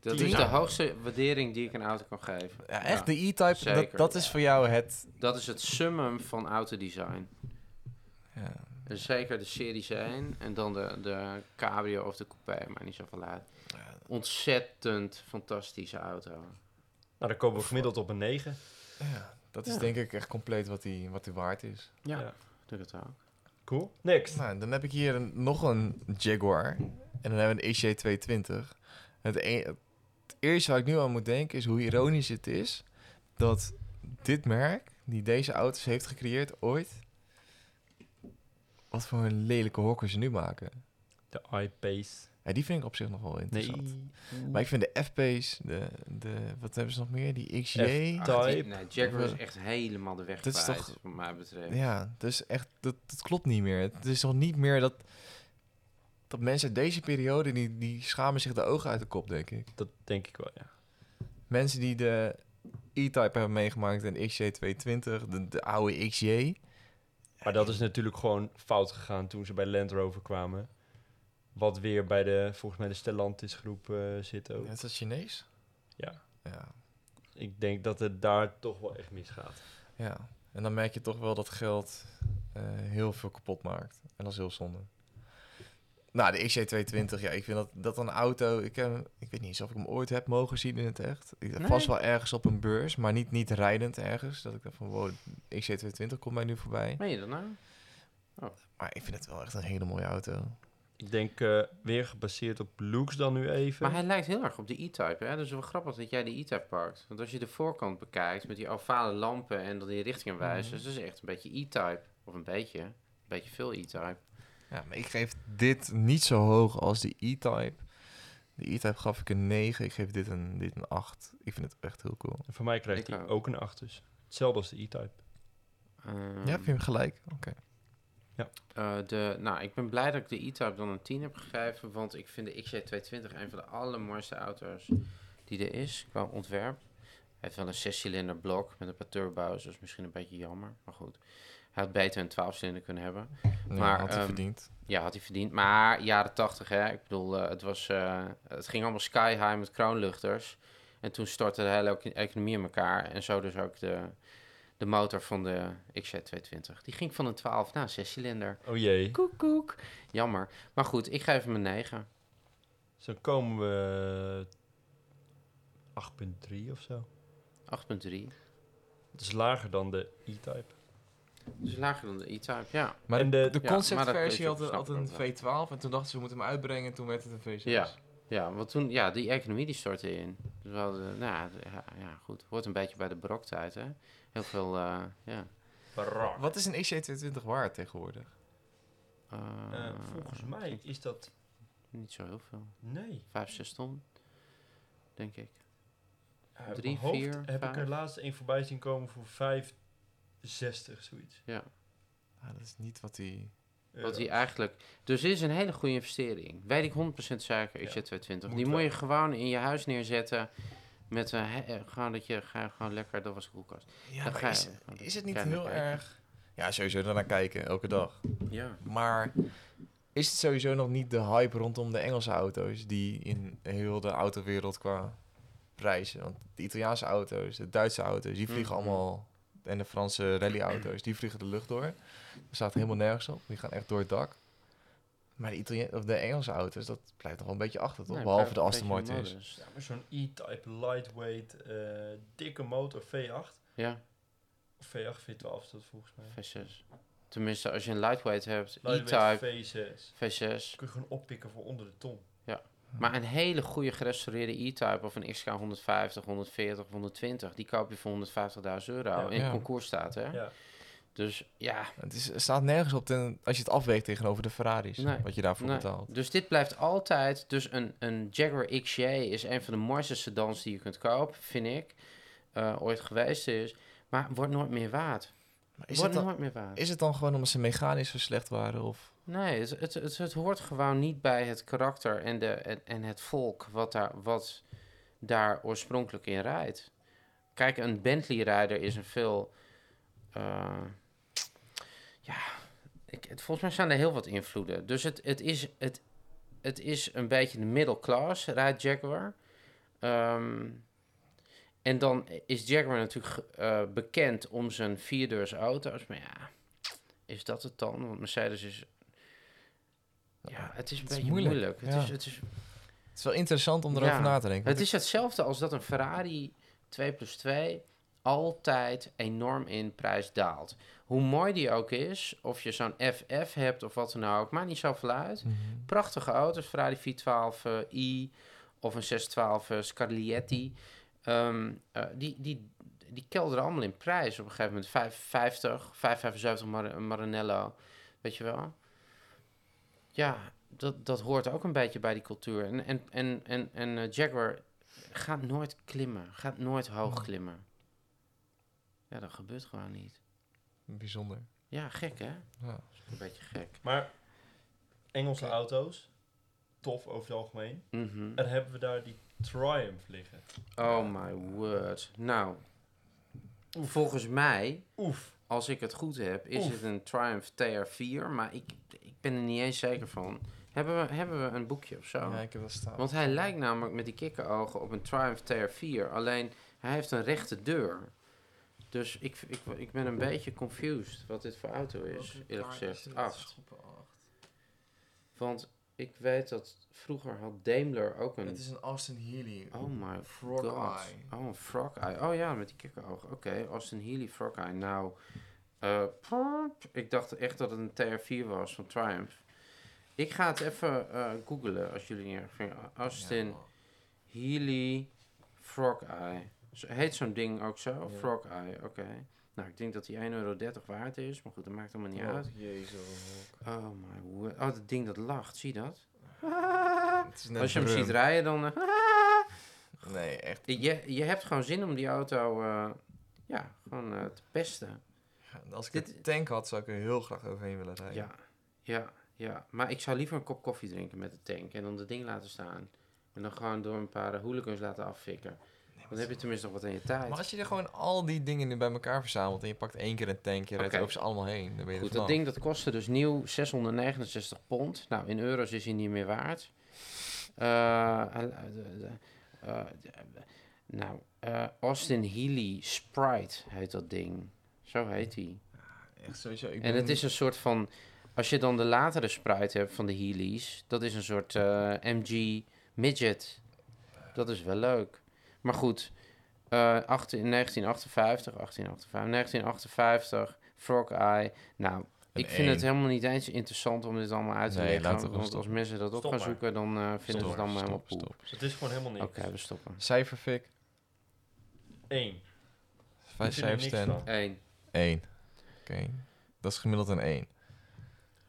Dat Tien. is de Nou. hoogste waardering die ik een auto kan geven. Ja, echt, Ja, de E-Type, dat, zeker. dat is voor jou het... Dat is het summum van autodesign. Ja. En zeker de serie zijn en dan de, de cabrio of de coupé, maar niet zoveel uit. Ontzettend fantastische auto. Nou, dan komen we gemiddeld op een 9. Ja, dat is Ja. denk ik echt compleet wat die, wat die waard is. Ja, Ja. ik denk het ook. Cool. Next. Nou, dan heb ik hier een- nog een Jaguar. En dan hebben we een EC220. Het, e- het eerste waar ik nu aan moet denken is hoe ironisch het is... dat dit merk, die deze auto's heeft gecreëerd ooit... wat voor een lelijke hokken ze nu maken. De iPace. Ja, die vind ik op zich nog wel Nee. interessant. Maar ik vind de FP's, de, de, wat hebben ze nog meer? Die XJ. F- Type. Ach, die- nee, Jaguar is Of, eh, echt helemaal de weg dat is kwijt, toch- wat mij betreft. Ja, dus echt, dat, dat klopt niet meer. Het is nog niet meer dat, dat mensen uit deze periode, die, die schamen zich de ogen uit de kop, denk ik. Dat denk ik wel, ja. Mensen die de E-Type hebben meegemaakt en XJ220, de, de oude XJ. Maar dat is natuurlijk gewoon fout gegaan toen ze bij Land Rover kwamen. Wat weer bij de, volgens mij, de Stellantis groep eh, zit ook. Ja, is dat Chinees? Ja. ja. Ik denk dat het daar toch wel echt misgaat. Ja. En dan merk je toch wel dat geld eh, heel veel kapot maakt. En dat is heel zonde. Nou, de XJ220, ja, ik vind dat, dat een auto... Ik, heb, hem- ik weet niet eens of ik hem ooit heb mogen zien in het echt. Ik, Nee. Vast wel ergens op een beurs, maar niet, niet rijdend ergens. Dat ik dacht van, wow, XJ220 komt mij nu voorbij. Meen je dat nou? Maar ik vind het wel echt een hele mooie auto. Ik denk eh, weer gebaseerd op looks dan nu even. Maar hij lijkt heel erg op de E-Type, hè? Dus het is wel grappig dat jij de E-Type pakt. Want als je de voorkant bekijkt met die ovale lampen en dan die richtingaanwijzers, Mhm. dat is echt een beetje E-Type. Of een beetje, een beetje veel E-Type. Ja, maar ik geef dit niet zo hoog als de E-Type. De E-Type gaf ik een 9, ik geef dit een, dit een 8. Ik vind het echt heel cool. En voor mij Ik krijgt hij ook. ook een 8 dus. Hetzelfde als de E-Type. Ehm, Ja, vind je hem gelijk? Oké. eh, de, nou, ik ben blij dat ik de E-Type dan een 10 heb gegeven, want ik vind de XJ220 een van de allermooiste auto's die er is qua ontwerp. Hij heeft wel een 6-cilinder blok met een paar turbo's, dat is misschien een beetje jammer, maar goed. Hij had beter een 12-cilinder kunnen hebben. Ja, Maar, had hij ehm, verdiend. Ja, had hij verdiend. Maar jaren tachtig, hè. Ik bedoel, eh, het, was, eh, het ging allemaal sky high met kroonluchters. En toen stortte de hele ec- economie in elkaar. En zo dus ook de, de motor van de XZ220. Die ging van een 12 naar een 6-cilinder. Oh jee. Koek, koek. Jammer. Maar goed, ik geef hem een 9. Dus dan komen we 8.3 of zo. 8.3. Dat is lager dan de E-Type. Dus lager dan de E-Type, ja. Maar En de, de- de ja, maar dat conceptversie weet je, had, een- snap had ik een ook wel. V12 en toen dachten ze we moeten hem uitbrengen en toen werd het een V6. Ja. Ja, want toen, ja, die economie die stortte in. Dus we hadden, nou ja, d- ja, ja, goed. Hoort een beetje bij de broktijd, hè. Heel veel, eh, ja. Barak. Wat is een E XC22 waard tegenwoordig? Eh, volgens mij is dat... Niet zo heel veel. Nee. Vijf, zes ton, denk ik. Uit Eh, mijn Drie, hoofd vier, heb ik vijf. er laatst een voorbij zien komen voor 5,60 zoiets. Eh, Ah, dat is niet wat die... Wat hij Euro. eigenlijk... Dus dit is een hele goede investering. Weet ik 100% zeker, ik Ja, zet 220. moet eh, Die moet wel. je gewoon in je huis neerzetten. Met een he- eh, gewoon dat je ga- gewoon lekker... Dat was de koelkast. Ja, Dan maar ga Nou, is, je- dan is het niet ga je naar heel kijken. erg... Ja, sowieso daarnaar kijken, elke dag. Ja. Maar is het sowieso nog niet de hype rondom de Engelse auto's... die in heel de autowereld qua prijzen... Want de Italiaanse auto's, de Duitse auto's, die vliegen Mhm. allemaal... En de Franse rallyauto's, die vliegen de lucht door. Er staat helemaal nergens op. Die gaan echt door het dak. Maar de, Italia- of de Engelse auto's, dat blijft nog wel Nou, een beetje dus. achter, toch? Nee, Behalve blijft de een Aston beetje Martin's. modus. Ja, maar zo'n E-Type lightweight, eh, dikke motor V8. Ja, Of V8, V12 is dat volgens mij. V6. Tenminste, als je een lightweight hebt, E-Type, Lightweight V6. V6. Kun je gewoon oppikken voor onder de ton. Maar een hele goede gerestaureerde E-Type of een XK 150, 140 of 120... die koop je voor 150.000 euro Ja. in Ja. concours staat, hè? Ja. Dus ja, Het is, er staat nergens op ten, als je het afweegt tegenover de Ferraris, Nee. wat je daarvoor Nee. betaalt. Dus dit blijft altijd. Dus een, een Jaguar XJ is een van de mooiste sedans die je kunt kopen, vind ik. eh, ooit geweest is. Maar wordt nooit meer waard. Maar is, het wordt dan, nooit meer waard. is het dan gewoon omdat ze mechanisch zo slecht waren? Of? Nee, het, het, het, het hoort gewoon niet bij het karakter en, de, en, en het volk wat daar, wat daar oorspronkelijk in rijdt. Kijk, een Bentley-rijder is een veel. eh, ja, ik, het- volgens mij zijn er heel wat invloeden. Dus het, het is. Het, het is een beetje de middelklas, rijdt Jaguar. Ehm, en dan is Jaguar natuurlijk eh, bekend om zijn vierdeurs auto's. Maar ja, is dat het dan? Want Mercedes is... Ja, het is een Het is beetje moeilijk. moeilijk, Het, ja. is, het, is, Het is wel interessant om erover Ja. na te denken. het is hetzelfde als dat een Ferrari 2 plus 2 altijd enorm in prijs daalt. Hoe mooi die ook is, of je zo'n FF hebt of wat dan ook, maakt niet zoveel uit Mhm. prachtige auto's. Ferrari 412 eh, i of een 612 eh, Scarlietti. Ehm, eh, die, die, die kelderen allemaal in prijs op een gegeven moment. 550, 575 Mar- Maranello. Weet je wel? Ja, dat, dat hoort ook een beetje bij die cultuur. En, en, en, en, en eh, Jaguar gaat nooit klimmen. Gaat nooit hoog klimmen. Ja, dat gebeurt gewoon niet. Bijzonder. Ja, gek hè? Ja. Een beetje gek. Maar Engelse auto's, tof over het algemeen. Mhm. En hebben we daar die Triumph liggen. Oh my word. Nou, volgens mij, Oef. als ik het goed heb, is Oef. het een Triumph TR4, maar ik, ik ben er niet eens zeker van. Hebben we, hebben we een boekje of zo? Ja, ik heb dat staan. Want hij lijkt namelijk met die kikkenogen op een Triumph TR4, alleen hij heeft een rechte deur. Dus ik, ik, ik ben een beetje confused wat dit voor auto is, dus, eerlijk gezegd. Acht. Want ik weet dat vroeger had Daimler ook een... is een Austin Healy. Oh my Frog God. eye. Oh, een frog eye. Oh ja, met die kikkeroog. Oké, Austin Healy frog eye. Nou, eh, prrrt. ik dacht echt dat het een TR4 was van Triumph. Ik ga het even eh googlen als jullie niet erg vinden. Austin Healy frog eye. Zo- Heet zo'n ding ook zo? Ja. Frog eye, oké. Nou, ik denk dat die 1,30 euro waard is, maar goed, dat maakt allemaal niet uit. Oh, jezus. Oh my word. Oh, dat ding dat lacht, zie je dat? Het is net Als je hem brum. ziet rijden, dan... eh, Nee, echt. Je, je hebt gewoon zin om die auto eh, ja, gewoon eh, te pesten. Ja, Als ik Dit- een tank had, zou ik er heel graag overheen willen rijden. Ja, ja, ja. Maar ik zou liever een kop koffie drinken met de tank en dan dat ding laten staan. En dan gewoon door een paar eh, hooligans laten affikken. Nee, maar Dan heb je tenminste nog wat aan je tijd. Maar als je er gewoon al die dingen nu bij elkaar verzamelt en je pakt één keer een tank, je rijdt Oké. over ze allemaal heen, dan ben je er Goed, dat vanaf. ding dat kostte dus nieuw 669 pond. Nou, in euro's is hij niet meer waard. Eh, eh, eh, eh, eh, nou, eh, Austin Healy Sprite heet dat ding. Zo heet hij. Echt sowieso. Ik En ben- het is een soort van. Als je dan de latere Sprite hebt van de Heelys, dat is een soort eh, MG Midget. Dat is wel leuk. Maar goed, eh, 18 1958, 1858, 1958, Frog Eye. Nou, Een ik vind het één. helemaal niet eens interessant om dit allemaal uit te Nee, leggen. laten we want gewoon als mensen dat op Stop gaan maar. zoeken, dan eh, vinden ze Stop, het allemaal stop, helemaal poep. stop. Het is gewoon helemaal niks. Oké, we stoppen. Cijferfik, Eén. vijf vind er niks cijfersterren. van. 1. 1. Oké, dat is gemiddeld een 1.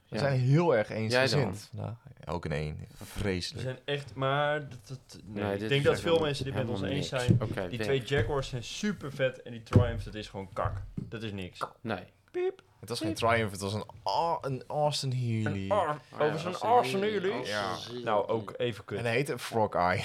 We Ja. zijn heel erg eensgezind dan? vandaag. Ook een 1. We Vreselijk. zijn echt, maar... Dat, dat- nee, Nee, ik dit denk is dat echt veel helemaal- mensen dit met ons helemaal eens niks. zijn. Oké, Die weg. twee Jaguars zijn super vet en die Triumph, dat is gewoon kak. Dat is niks. Nee. Piep. Het was geen Triumph, het was een, Au- een Austin Healy. Een ar- Oh ja, Over zo'n Austin Arsenal Healey, jullie. Austin Ja. Healey. Nou, ook even En kut. hij heette Frog Eye.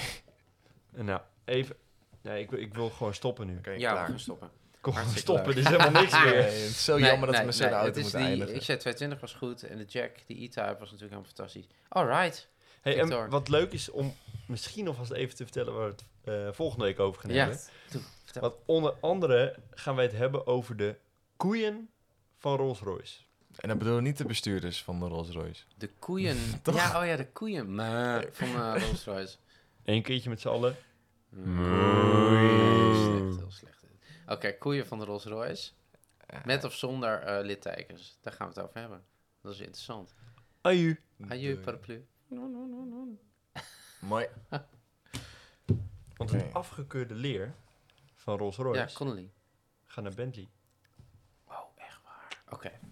Nou, even... Nee, ik, wil- ik wil gewoon stoppen nu. Oké, Ja, we klaar. gaan stoppen. Kom gewoon Hartstikke stoppen, leuk. dit is helemaal niks Nee, meer. het is zo Nee, jammer dat nee, we met z'n nee, het auto is moeten die, eindigen. Ik zei 220 was goed en de Jack, de E-Type was natuurlijk helemaal fantastisch. Alright. Hey, en Victor. wat leuk is om misschien nog alvast even te vertellen waar we het eh, volgende week over gaan Ja. hebben. Doe, vertel. Want onder andere gaan wij het hebben over de koeien van Rolls-Royce. En dan bedoelen we niet de bestuurders van de Rolls Royce. De koeien. ja, oh ja, de koeien. Maar van eh, Rolls Royce. Eén keertje met z'n allen. Nee, slecht, heel slecht. Oké, koeien van de Rolls Royce. Met of zonder eh, littekens. Daar gaan we het over hebben. Dat is interessant. Aju. Adieu, Doei. paraplu. Mooi. Want Oké. het afgekeurde leer van Ja, Rolls-Royce Connolly. gaat naar Bentley. Oh, echt waar. Oké.